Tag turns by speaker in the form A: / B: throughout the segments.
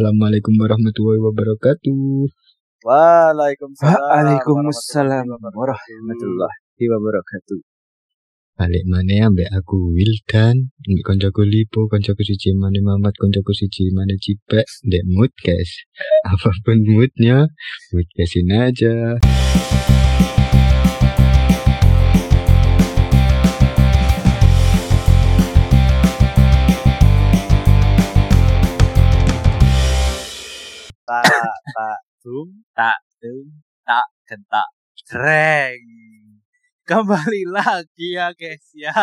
A: Assalamualaikum warahmatullahi wabarakatuh.
B: Waalaikumsalam.
C: Waalaikumsalam warahmatullahi wabarakatuh.
A: Balik mana ambek aku Wildan, ambek koncoku Lipo, koncoku siji mana Mamat, koncoku siji mana Cipek, ndek mood guys. Apapun moodnya, mood guesin aja.
B: Tak tak dum tak dum tak dan tak dreng. Kembali lagi ya guys ya.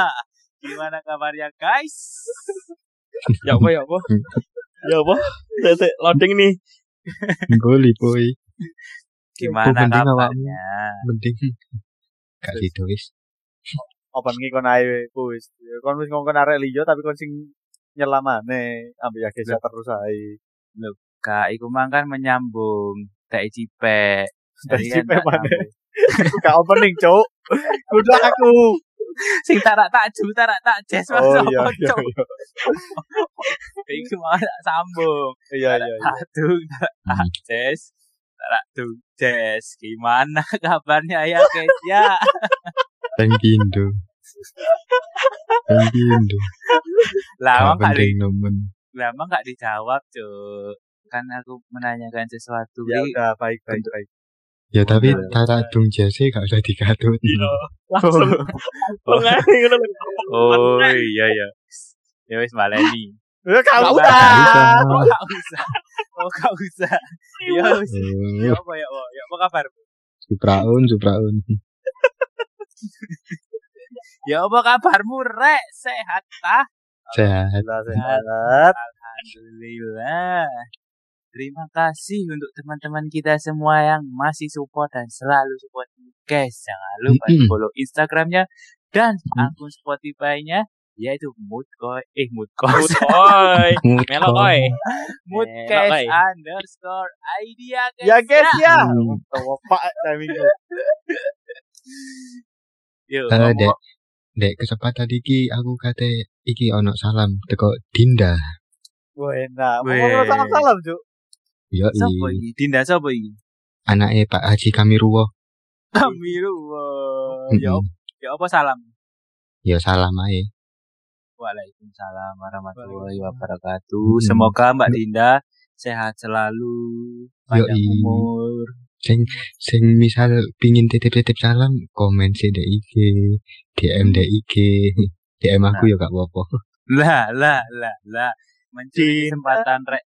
B: Gimana kabarnya guys?
C: Ya apa ya apa?
A: Hmm.
C: Ya apa? Saya- saya loading nih.
A: Gue Lipo, i.
B: Gimana
A: mending
B: kabarnya?
A: mending gak gitu wis.
B: Open iki kon ae wis. Kon wis ngomong arek liya tapi kon sing nyelamane ambil ya guys ya terus ae.
D: Kak, iku mang kan menyambung TI Cipek.
B: Dari
D: Tadi kan
B: sipe
D: tak
B: mana?
D: nyambung.
B: Aku gak opening, Cuk. Kudu aku.
D: Sing tarak takju, tarak takjes mas
B: Oh iya
D: apa,
B: iya
D: Cuk?
B: iya.
C: iya.
D: Iku mau tak sambung.
B: Iya iya. iya.
D: Adung, tarak
A: Hmm.
D: takjes. Tarak dung jes. Gimana kabarnya ya, guys ya?
A: Thank you, Indo. Thank you, Indo.
D: Lah,
A: Gak
D: emang gak di-
A: penting nemen.
D: lah, emang gak dijawab, Cuk. Kan aku menanyakan sesuatu.
B: Ya
D: Jadi,
B: udah baik baik baik.
A: Ya tapi
D: Bener.
A: tarak dung jase gak usah dikatut.
C: Iya. Langsung pengen ngono lho.
D: oh iya iya. Ya wis baleni.
B: Ya kau
D: Gak usah.
B: udah.
D: Oh, gak usah. Oh, gak usah. Ya wis. Ya
A: Eh,
D: apa ya apa? Ya apa kabar?
A: Supraun, supraun.
D: Ya apa kabarmu rek? Sehat tah?
A: Sehat.
B: Alhamdulillah sehat.
D: Alhamdulillah. Terima kasih untuk teman-teman kita semua yang masih support dan selalu support guys. Jangan lupa di
A: Mm-mm.
D: follow Instagramnya dan akun Spotify-nya yaitu Moodcoy eh Moodcoy
C: Oi, melo oi.
D: Moodcast
C: Moodcoy.
D: underscore idea guys.
B: Ya guys ya.
A: Hmm.
B: Tawa pak timing.
D: Yuk,
A: Eh,
D: ngomong-
A: dek, dek kesempatan iki aku kate iki ono salam teko Dinda.
B: Wah enak. Mau
D: Weh.
B: ngomong salam salam Cuk.
A: Yo,
D: Sopo ini? Dinda sopo ini?
A: anake Pak Haji Kamiruwo.
D: Kamiru. Ya,
A: Mm-mm.
D: ya apa salam?
A: Yo salam ae.
D: Waalaikumsalam warahmatullahi
B: Waalaikumsalam.
D: wabarakatuh.
A: Hmm.
D: Semoga Mbak Dinda sehat selalu, panjang
A: Yoi.
D: umur.
A: Sing sing misal pingin titip-titip salam, komen sih dek IG, DM dek IG. DM aku
D: Nah.
A: yo gak apa-apa.
D: Lah, lah, lah, lah. Mencuri kesempatan rek.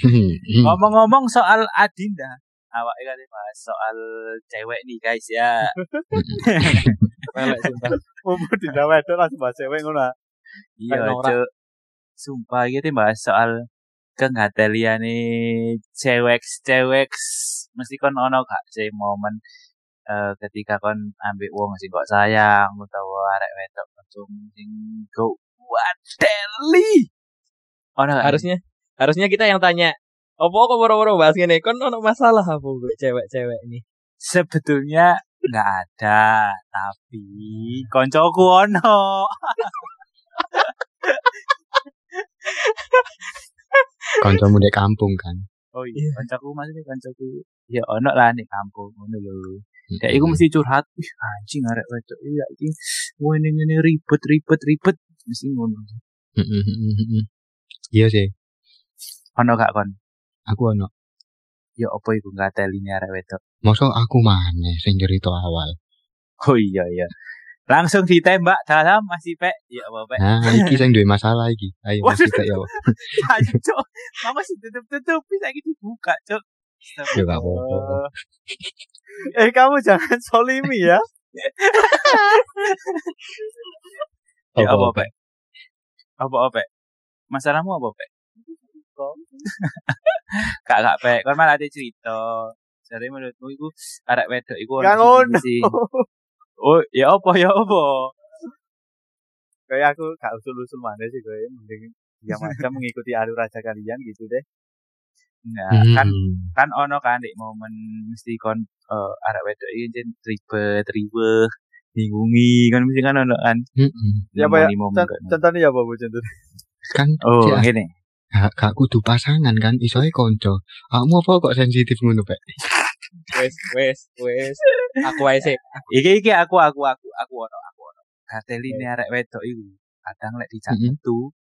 A: Hmm.
D: Ngomong-ngomong soal Adinda, awak kali bahas soal cewek nih guys ya.
C: Melek sumpah.
B: Mumpung di dalam itu langsung bahas cewek ngono. ah.
D: Iya,
B: Kayak norak.
D: Cuk. Sumpah iki kita bahas soal kenggateliane cewek-cewek mesti kon ono gak sih momen eh, ketika kon ambek wong sing kok sayang utawa arek wedok langsung sing go wadeli. Ono gak?
C: Harusnya harusnya kita yang tanya. Opo kok boro-boro bahas ngene? Kon ono masalah apa gue cewek-cewek ini?
D: sebetulnya nggak ada, tapi koncoku ono.
A: Kancamu dek kampung kan.
D: Oh
C: Iya.
D: iya, koncoku maksudnya koncoku. Ya ono lah nih kampung ngono lho. Ya iku mesti curhat. Ih, anjing arek wedok iki ya iki ngene ngene ribet ribet ribet mesti ngono.
A: Mm-mm. Iya sih,
D: Ono gak kon?
A: aku ono.
D: Ya apa iku ngateline arek wedok?
A: Masa aku maneh sing cerita awal.
D: Oh iya iya. Langsung ditembak dalam masih pek. Ya apa pek?
A: Nah, iki sing duwe masalah iki. Ayo
D: Waduh.
A: mesti tak yo.
D: Cok. Mama sih tutup-tutup bisa gitu dibuka, Cok.
A: Yo Ya, gak apa-apa.
B: Eh kamu jangan solimi ya.
D: Ya apa
A: Apa-apa.
D: pek? Apa apa pek? Masalahmu apa pek? Kak kak pek, kon malah ada cerita. Jadi menurutmu iku arek wedok iku ono
B: Gak
D: sing
B: ngono.
D: sisi. Oh, ya apa ya apa?
B: Kayak aku gak usul-usul mana sih gue mending ya macam mengikuti alur aja kalian gitu deh.
D: Enggak,
A: Hmm.
D: kan kan ono kan di momen mesti kon eh arek wedok iki jen ribet ribet bingungi kan mesti kan ono kan
A: Mm-mm.
B: Ya apa ya?
D: Momen-momen
B: Con-
D: kan.
B: Contohnya ya apa bu contohnya?
A: Kan
D: oh
A: si-
D: ngene
A: gak, gak kudu pasangan kan isoe konco kamu apa kok sensitif ngono pak
C: Wes, wes, wes. Aku ae sik.
D: Iki iki aku aku aku aku ono aku ono. Gateli ini arek wedok iku. Kadang lek dicak
A: Mm-mm.
D: metu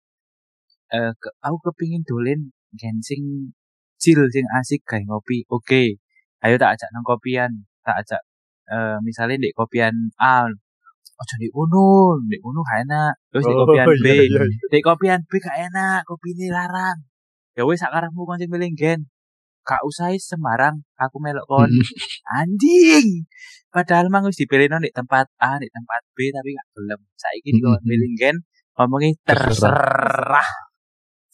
D: eh ke, aku kepingin dolen gen sing chill sing asik gawe ngopi. Oke. Ayo tak ajak nang kopian. Tak ajak eh misalnya ndek kopian A. Ojo ndek kono, ndek kono gak enak. Terus ndek kopian
A: iya,
D: B.
C: Iya,
D: Ndek kopian B gak enak, kopine larang. Ya wis sak karepmu kon sing milih gen. Gak usah is sembarang aku melok kon anjing padahal mang wis dipilih nang di tempat A di tempat B tapi gak gelem saiki di
A: Mm-mm.
D: milih gen ngomongnya terserah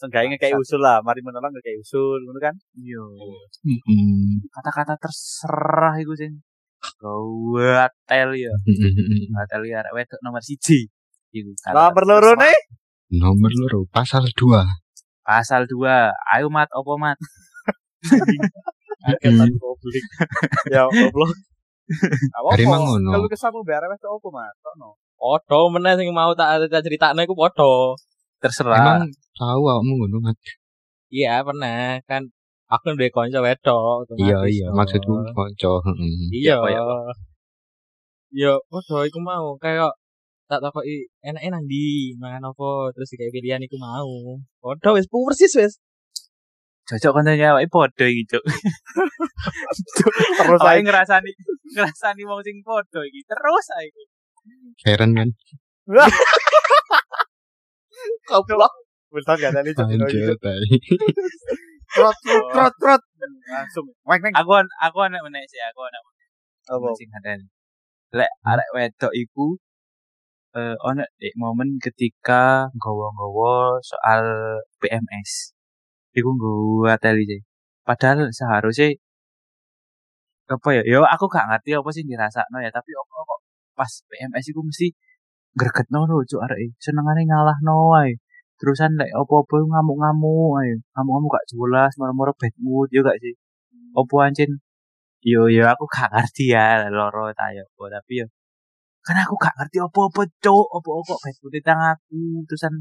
B: Seenggaknya kayak usul lah, mari menolong kayak usul, ngono kan?
D: yo
A: Mm-mm.
D: kata-kata terserah iku sing gawatel ya
A: Mm-mm.
D: gawatel ya arek wedok nomor siji iku
B: Lah
D: kata-kata
B: perlu
D: terserah.
B: nih.
A: nomor loro pasal dua
D: pasal 2 ayo mat opo mat
B: Ketan publik. Ya goblok. Apa?
A: Hari mang ngono.
B: Kalau kesamu bare wes opo, Mas? Ono.
C: Podo meneh sing mau tak tak critakno iku podo.
D: terserah
A: emang tahu awakmu ngono Mat?
C: Iya, pernah kan aku duwe kanca wedok. otomatis,
A: iya iya
C: no.
A: maksudku konco heeh.
C: Iya.
D: Ya, koyo
C: Iya, podo iku mau kayak tak takoki enak nang ndi, mangan apa, terus kayak pilihan iku mau. Podo wis pu- persis wis.
D: cocok kan tanya awake podo iki cuk
B: Terus aing
D: awake Oh, ngrasani ngrasani wong sing podo iki terus ae
A: Karen kan
B: goblok. Bisa gak tadi
C: Iya,
B: cok Dino gitu.
A: anjir tai.
B: Krot krot, krot krot. Langsung weng weng.
D: aku an- aku anak menek sih aku anak
B: Apa?
D: sing ngadani. Lek arek wedok iku eh ono dek momen ketika nggawa-nggawa soal PMS. Iku nggawa teli sih. Padahal seharusnya apa ya? Yo aku gak ngerti apa sih dirasakno ya, tapi apa kok pas PMS iku mesti gregetno lho cuk arek e. senengane nyalahno ae. Terusan lek apa-apa iku ngamuk-ngamuk ae. Ngamuk-ngamuk gak jelas, moro-moro bad mood yo gak sih.
B: Hmm.
D: Opo ancen yo yo aku gak ngerti ya loro ta yo apa, tapi yo kan aku gak ngerti opo-opo cuk opo-opo bad mood tang aku terusan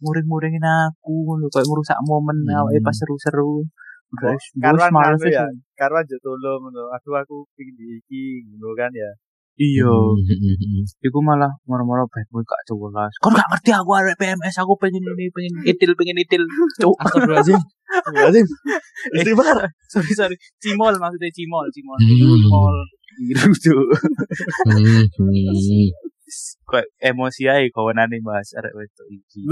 D: muring-muringin aku lho kayak ngerusak momen
A: Hmm.
D: awake pas seru-seru
B: Oh,
D: Terus
B: karuan
D: males
B: nganu ya.
D: wis.
B: Karwan juk tolong ngono. Aduh aku pingin diiki ngono kan ya.
D: Iya,
A: Mm-mm.
D: iku malah moro-moro bad mood gak jelas. Kon gak ngerti aku arek PMS, aku pengen ini, pengen itil, pengen itil. Cuk.
C: Astagfirullahalazim. Astagfirullahalazim.
D: Eh,
C: Istighfar.
D: sorry, sorry. Cimol maksudnya cimol, cimol.
A: Hmm.
D: Cimol. Biru, cuk.
A: Mm-mm.
D: Kayak emosi ae kawanane bahas arek wedok iki.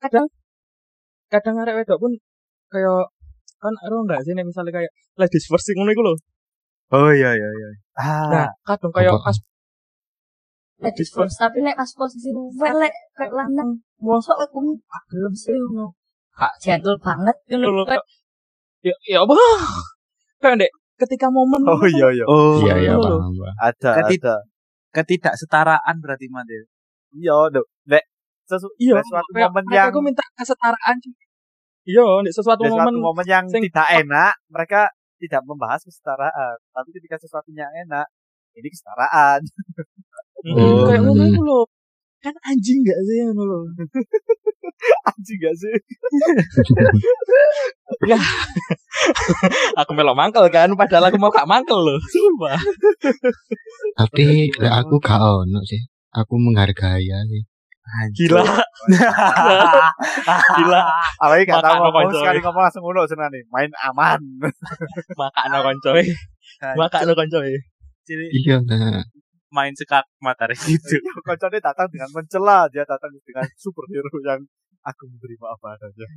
C: kadang kadang arek wedok pun kayak kan ero enggak sih nek misalnya kayak ladies first sing ngono iku lho.
D: Oh iya iya iya.
C: Nah,
B: Ah,
C: kadang kayak
A: Apa?
C: pas
E: Ladies first, tapi lek pas posisi gue lek kayak lanang, mosok aku gak gelem sih ngono. Kak jadul banget
C: iya Lho,
E: ngono
C: Kak. ya ya apa? Kayak Dek, ketika momen
B: oh iya iya.
D: Oh.
A: iya iya
C: Ngono lho.
A: paham Pak.
B: Ada
D: Ketit-
B: ada.
D: Ketidaksetaraan berarti ya? Mate.
B: Iya, Dok. Nek sesu-
C: Iya,
B: nek suatu
C: kayak
B: momen
C: nek
B: yang
C: aku minta kesetaraan. Iya, nek sesuatu
B: nek suatu
C: momen
B: momen yang
C: sing-
B: tidak enak, mereka tidak membahas kesetaraan. Tapi ketika sesuatu yang enak, ini kesetaraan.
C: Mm, kayak
A: Oh.
C: ngono iku lho. Kan anjing enggak sih ngono lho.
B: Anjing gak sih?
C: Aku melok mangkel kan padahal aku mau gak mangkel lho. Sumpah.
A: tapi lek aku gak ono sih aku menghargai ya sih
C: Gila, gila.
B: Apalagi gak tahu
C: Makan
B: ngomong
C: apa, coy.
B: sekali ngomong langsung ngono senane. Main aman.
C: Makakno koncoe. Makakno koncoe.
D: Jadi
A: iya nah
D: main sekak matahari gitu.
B: Kocoknya datang dengan mencela, dia datang dengan superhero yang aku memberi maaf adanya.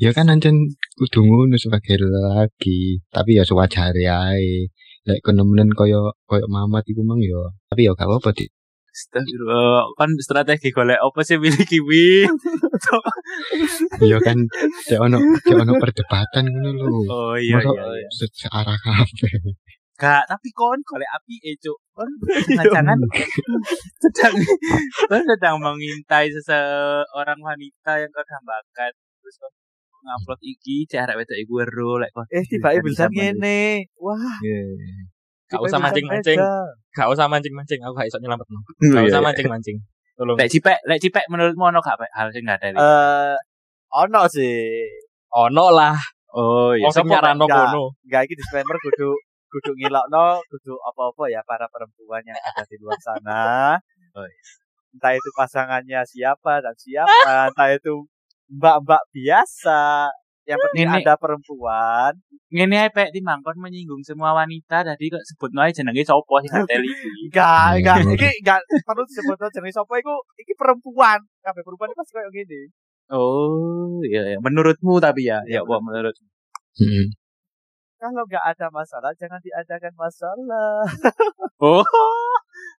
A: ya kan ancen kudu ngono sebagai lelaki tapi ya sewajare ae lek kenemenan koyo koyo mamat iku mang yo tapi ya gak apa-apa di
D: Astagfirullah. Kan strategi golek apa sih miliki win.
A: ya kan cek ono cek ono perdebatan ngono lho
D: Oh iya
A: Masa-
D: iya. iya.
A: Se- searah kabeh
D: Gak, tapi kon golek api eh cuk. Kon
B: Iya,
D: jangan sedang kon sedang mengintai seseorang wanita yang kau dambakan. Terus kon ngupload iki cek arek wedok iku ero lek kon.
B: Eh, tiba bisa ngene. Wah,
C: Gak
B: Iya, tiba-tiba
C: usah
B: bisa
C: mancing-mancing.
B: beda.
C: Gak usah mancing-mancing, aku gak iso nyelametno.
D: Iya,
C: Gak
D: iya.
C: usah mancing-mancing. Tolong.
D: Lek cipek, lek cipek menurutmu ono gak Pak, hal sing gak ada?
B: Eh, ono sih.
C: Ono lah.
D: oh iya.
C: Wong sing
B: Sopo,
C: nyarano
B: Mbak?
C: kono.
B: Enggak iki disclaimer kudu kudu ngilokno, kudu apa-apa ya para perempuan yang ada di luar sana.
D: Oh,
B: Entah itu pasangannya siapa dan siapa, entah itu mbak-mbak biasa. Yang penting
D: Nenek.
B: ada perempuan.
D: Ngene ae Pak timang kon menyinggung semua wanita tadi kok sebut ae jenenge sapa sing gak teli iki.
B: Enggak,
A: Hmm.
B: enggak. Iki enggak perlu disebut jenis sapa iku. Iki perempuan. Kabeh perempuan ini pasti kayak gini.
D: Oh, iya, iya. menurutmu tapi ya.
B: Iya,
D: Ya, apa menurut.
C: Mm-hmm.
A: Mm-mm.
B: Kalau enggak ada masalah, jangan diadakan masalah.
D: Oh.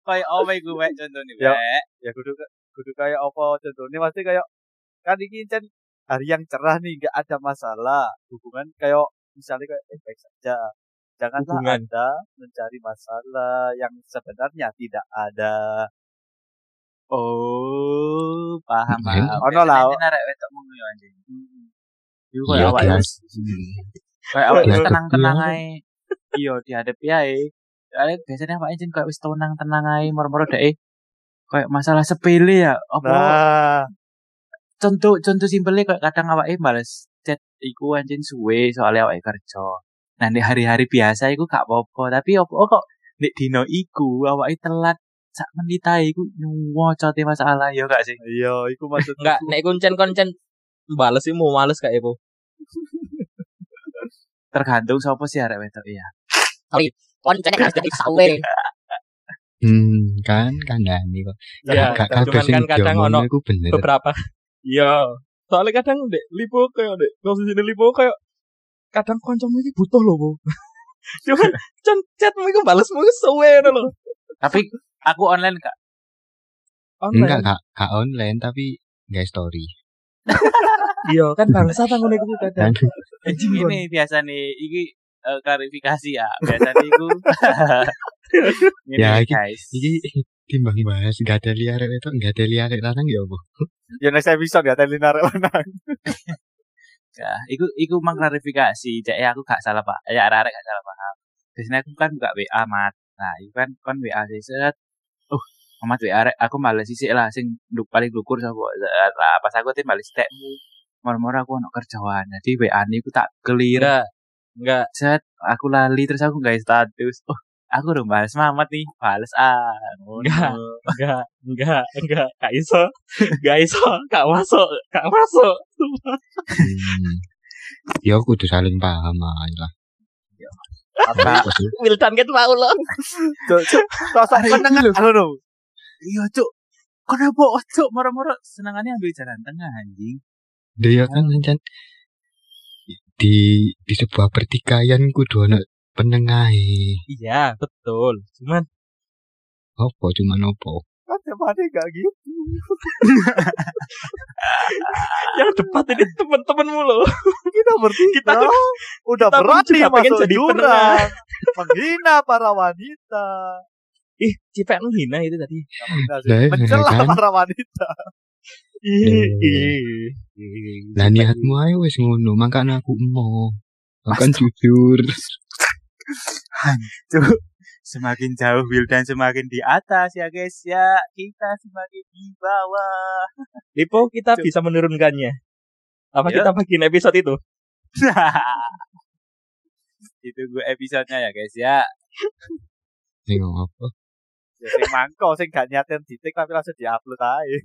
D: Kayak owe gue Pak, contohnya.
B: Ya.
D: Pak.
B: ya kudu kudu kayak apa contohnya pasti kayak kan ini kan hari yang cerah nih nggak ada masalah hubungan kayak misalnya kayak eh, baik saja janganlah
C: Hubungan.
B: anda mencari masalah yang sebenarnya tidak ada
D: Oh, paham,
A: Hmm.
D: paham.
B: Ono lah.
D: Nek arek wedok mung yo anjing. Iku
A: Iya,
D: kayak awak
A: iya.
D: wis
C: Hmm.
D: kayak awak wis
A: Iya,
D: tenang-tenang
A: iya.
D: ae. Iya, dihadapi ae. Soalnya biasanya awak anjing kayak wis tenang-tenang ae, moro-moro dek e. kayak masalah sepele ya. Apa
B: nah
D: contoh contoh simpelnya kayak kadang awak males chat iku anjing suwe soalnya awak kerja. Nah, di hari-hari biasa iku gak apa-apa, tapi opo kok di dino iku awak telat sak menit ae iku nyuwo cote masalah ya gak sih?
B: iya itu maksud
C: Enggak, nek kuncen koncen bales sih mau males kayak iku.
D: Tergantung siapa sih arek wedok iya.
E: kontennya harus dari sawer
A: Hmm, kan kandhani kok.
C: Ya,
A: Gak
C: cuman
A: kabeh sing
C: kan kadang ono
A: diomongno iku bener.
C: beberapa. Iya. Soalnya kadang dek lipo kayak dek posisi di lipo kayak kadang kancamu iki butuh loh, Bu. Cuman cen chatmu iku balesmu iku suwe ngono lho.
D: Tapi aku online kak.
A: Enggak,
C: Online.
A: gak, gak online tapi gak story.
C: Iya, kan bangsa ta ngono iku
A: Kan
C: kadang. Anjing, Gon.
D: Ini biasa nih, ini eh, klarifikasi ya. Biasa nih aku. ini
A: Ya, iki-
D: guys.
A: iki timbang bahas gak ada liarek itu gak ada liarek lanang ya apa?
B: ya next episode ya telinar
D: Ya, iku iku mang klarifikasi. Cek ya aku gak salah pak. Ya arek-arek gak salah paham. Biasanya aku kan buka WA mat. Nah, iku kan kan WA sih set. Uh, amat WA arek aku males sih lah sing nduk paling lukur sapa. eh, Lah pas aku tim males tekmu. Moro-moro aku ono kerjaan. Jadi WA ni aku tak clear
C: Enggak. Enggak.
D: chat aku lali terus aku nggak status oh aku udah balas mamat nih balas ah ngono.
C: Enggak. Enggak, enggak, enggak, kak iso, gak iso, kak masuk, kak masuk.
A: Hmm. Ya kudu saling paham ae lah.
D: Apa?
A: Apa sih?
C: Wildan ket mau lo.
B: sosok menengah lho
D: iya cuk kenapa oh, cuk moro-moro senangannya ambil jalan tengah anjing
A: Dia kan ancan di di sebuah pertikaian kudu ono penengahe.
C: Iya, betul. Cuman
A: Apa cuman opo?
B: kan temannya gak gitu
C: yang depan ini temen-temenmu lo.
B: kita bertiga
C: Kita tuh-
B: udah
C: kita pun
B: berani
C: juga pengen
B: masuk
C: jadi penengah.
B: jurang menghina para wanita
C: Ih, cipek lu hina itu tadi.
B: Nah, sih.
A: Lah,
B: mencela
A: kan?
B: para wanita
C: Ih,
A: Duh.
C: ih.
A: Lah niatmu ae wis ngono, makane aku emo. kan Makan jujur.
D: semakin jauh Wildan semakin di atas ya guys ya kita semakin di bawah
C: Lipo kita bisa menurunkannya. Apa
D: Iya.
C: kita bagiin episode itu?
D: ditunggu episodenya ya guys ya
A: Tengok apa?
B: ya sing mangko sing gak niatin titik tapi langsung diupload aja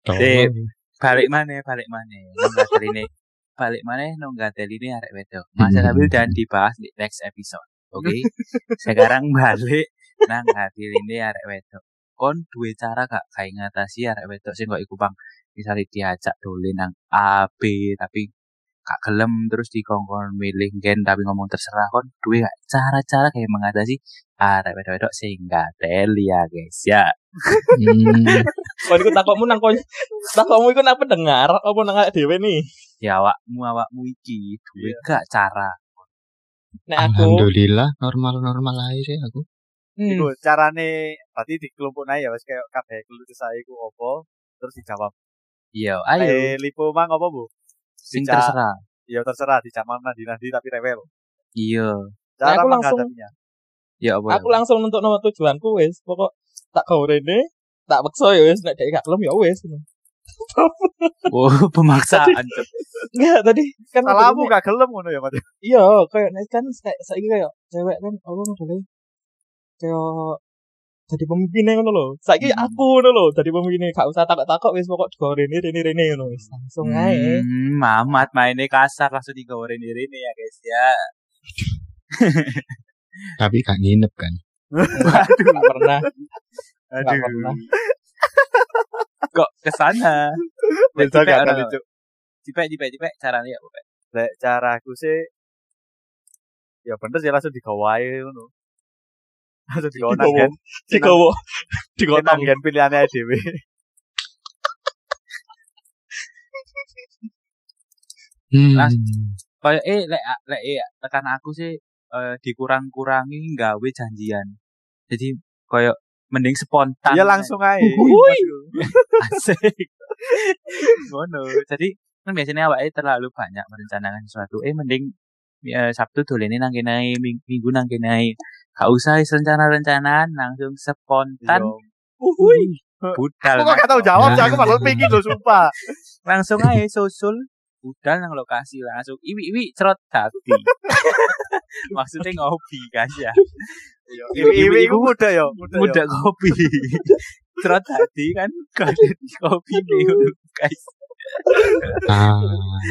A: Tolong.
D: balik mana balik mana nonggat kali ini balik mana nonggat kali ini arek wedok masalah
A: Hmm.
D: Wildan dibahas di next episode oke sekarang balik nang hati ini arek wedok kon duwe cara gak kayak ngatasi arek wedok sing kok iku bang misalnya diajak dole nang A B tapi gak gelem terus dikongkon milih gen tapi ngomong terserah kon duwe gak cara-cara kayak mengatasi arek wedok-wedok sing gak teli ya guys ya
A: Hmm.
C: Kalau ikut takutmu nang kon, takutmu ikut nang pendengar, apa nang awak dewe nih?
D: ya awakmu awakmu iki duwe gak cara
C: Nek aku,
A: Alhamdulillah normal-normal aja sih aku.
C: hmm,
B: Iku carane berarti di kelompok ya wis kayak kabeh kelutus ae ku opo terus dijawab
D: Iya, ayo
B: eh lipo mang opo bu
D: sing
B: Dijak-
D: terserah.
B: ya terserah dijawab nadi nadi tapi rewel
D: Iya.
B: cara
C: aku langsung-
B: menghadapinya
D: Ya apa?
C: aku langsung nentuk nama tujuanku wis pokok tak kau rene tak paksa ya wis nek dek gak kelem ya wis
D: Oh, pemaksaan. Cuk.
C: enggak tadi kan
B: Salahmu
C: kan
B: gak gelem ngono ya, Mas.
C: iya kayak nek kan se- saiki kayak cewek kan apa modele kayak jadi pemimpinnya ngono lho saiki
D: Hmm.
C: aku ngono lho jadi pemimpinnya gak usah takut-takut wis pokok dikau rene rene rene ngono wis langsung ae
D: Hmm, Mamat mainnya kasar langsung digoreng diri nih ya guys ya.
A: Tapi gak nginep kan.
C: gak pernah
B: Aduh.
C: pernah.
D: Kok kesana?
B: Beda
D: Cipek,
B: gak
D: ora,
B: tadi,
D: ora.
B: Cuk.
D: Cipek, cipek, cipek. Caranya ya, Bapak.
B: Lek caraku sih ya bener sih langsung digawai ngono. Langsung digawa nang
C: Digawa.
B: gen.
C: dikau
B: Digawa nang
C: dikotong
B: gen pilihannya dhewe.
A: Hmm.
D: Las- Kayak eh lek lek eh, tekan aku sih eh, dikurang-kurangi gawe janjian. Jadi kayak mending spontan.
B: Ya langsung ae.
C: Wuhui.
D: asik ngono jadi kan biasanya awake terlalu banyak merencanakan sesuatu eh mending eh, Sabtu dolene nang kene ae, Ming- Minggu nang kene ae. Gak usah wis rencana-rencanaan langsung
B: Iya.
D: spontan.
C: uhui
D: Budal.
B: Aku kok gak tau
D: Mas.
B: jawab sih aku padahal pingin lho sumpah.
D: Langsung aja susul budal nang lokasi langsung iwi-iwi cerot dadi. Maksudnya ngopi guys ya.
B: Iwi-iwi iku muda ya.
D: Muda kopi. cerot dadi kan kaget kopi nih guys.
A: Ah,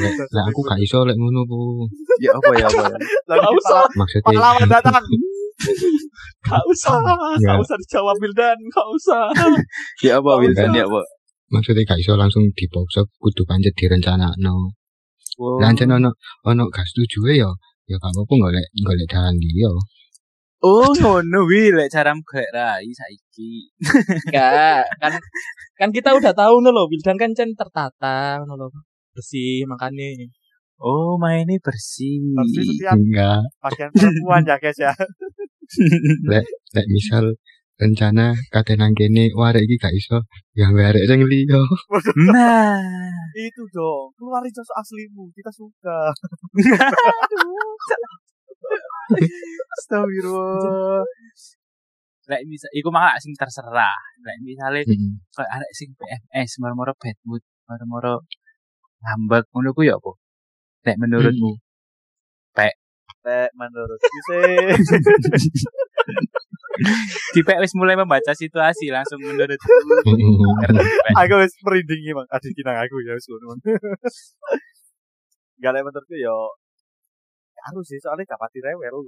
A: lek- lek aku gak iso lek ngono Bu.
D: Ya apa ya apa. ya?
C: gak
B: Lalu
C: usah
A: Maksudnya
B: pahlawan datang.
C: gak usah gak
A: Enggak.
C: usah dijawab Wildan gak usah
D: Ya apa Wildan ya apa.
A: maksudnya gak iso langsung dipaksa kudu pancet direncanakno.
D: Oh. Wow.
A: Lah ancen ono ono gak setuju ya ya gak apa-apa golek golek dalan liya.
D: Oh ngono wi lek cara gak rai saiki.
C: Enggak, kan kan kita udah tahu nih loh, Wildan kan cen tertata nih loh. Bersih makanya.
D: Oh mainnya bersih.
B: Bersih setiap
A: Enggak.
B: bagian perempuan ya guys ya.
A: Lek misal rencana kate nang kene wah arek iki gak iso ya nggawe arek sing liya.
D: Nah,
B: Itu dong, keluarin sosok aslimu, kita suka. Astagfirullah.
D: lek misal iku mah sing terserah. Lek misale
A: Heeh.
D: koyo arek sing PMS moro-moro bad mood, moro-moro ngambek ngono ku ya apa? Lek menurutmu
B: Lek menurutku sih
D: Dipek wis mulai membaca situasi langsung menurut
B: aku wis merindingi Bang. Adik kinang aku ya wis ngono. Enggak lek menurutku ya harus sih soalnya gak pati rewel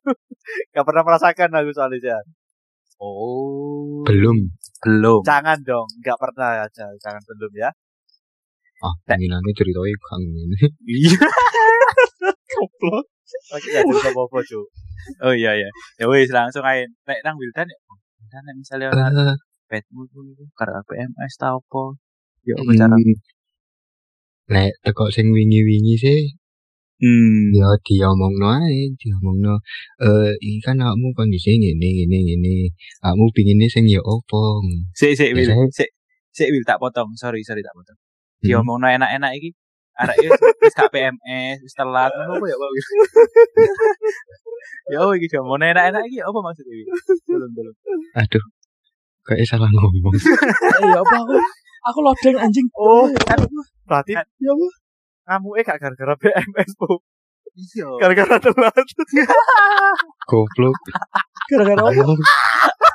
B: gak pernah merasakan aku soalnya Jan.
D: Oh,
A: Belum.
D: belum.
B: jangan dong gak pernah aja jangan belum ya
A: Ah,
D: Lek-
A: penginane ceritanya kang ngene.
D: Iya.
C: Goblok.
B: lagi gak jadi apa-apa cu
D: Oh iya iya. Ya wis langsung ae. Lek nang Wildan ya. Wildan lek misale ora
A: Eh,
D: bedmu dulu karena PMS tau apa ya apa cara
A: Hmm. Lek teko sing wingi-wingi sih
D: hmm
A: ya diomongno ae, diomongno eh iki kan awakmu kondisi ngene ngene ngene. Awakmu pingine sing ya opo?
D: sik sik wil
A: Biasanya-
D: sik sik wil tak potong sorry sorry tak potong diomongno enak-enak iki arek wis wis gak PMS wis telat ngono apa ya Pak Wil ya apa iki diomongno enak-enak iki apa maksudnya wil belum belum
A: Aduh. Kayak salah ngomong.
C: Eh, ya apa aku? Aku lodeng anjing.
B: oh berarti
C: Ya apa?
B: kamu eh gak gara-gara BMS bu
D: iya
B: gara-gara telat
A: Goblok.
C: Gara-gara apa?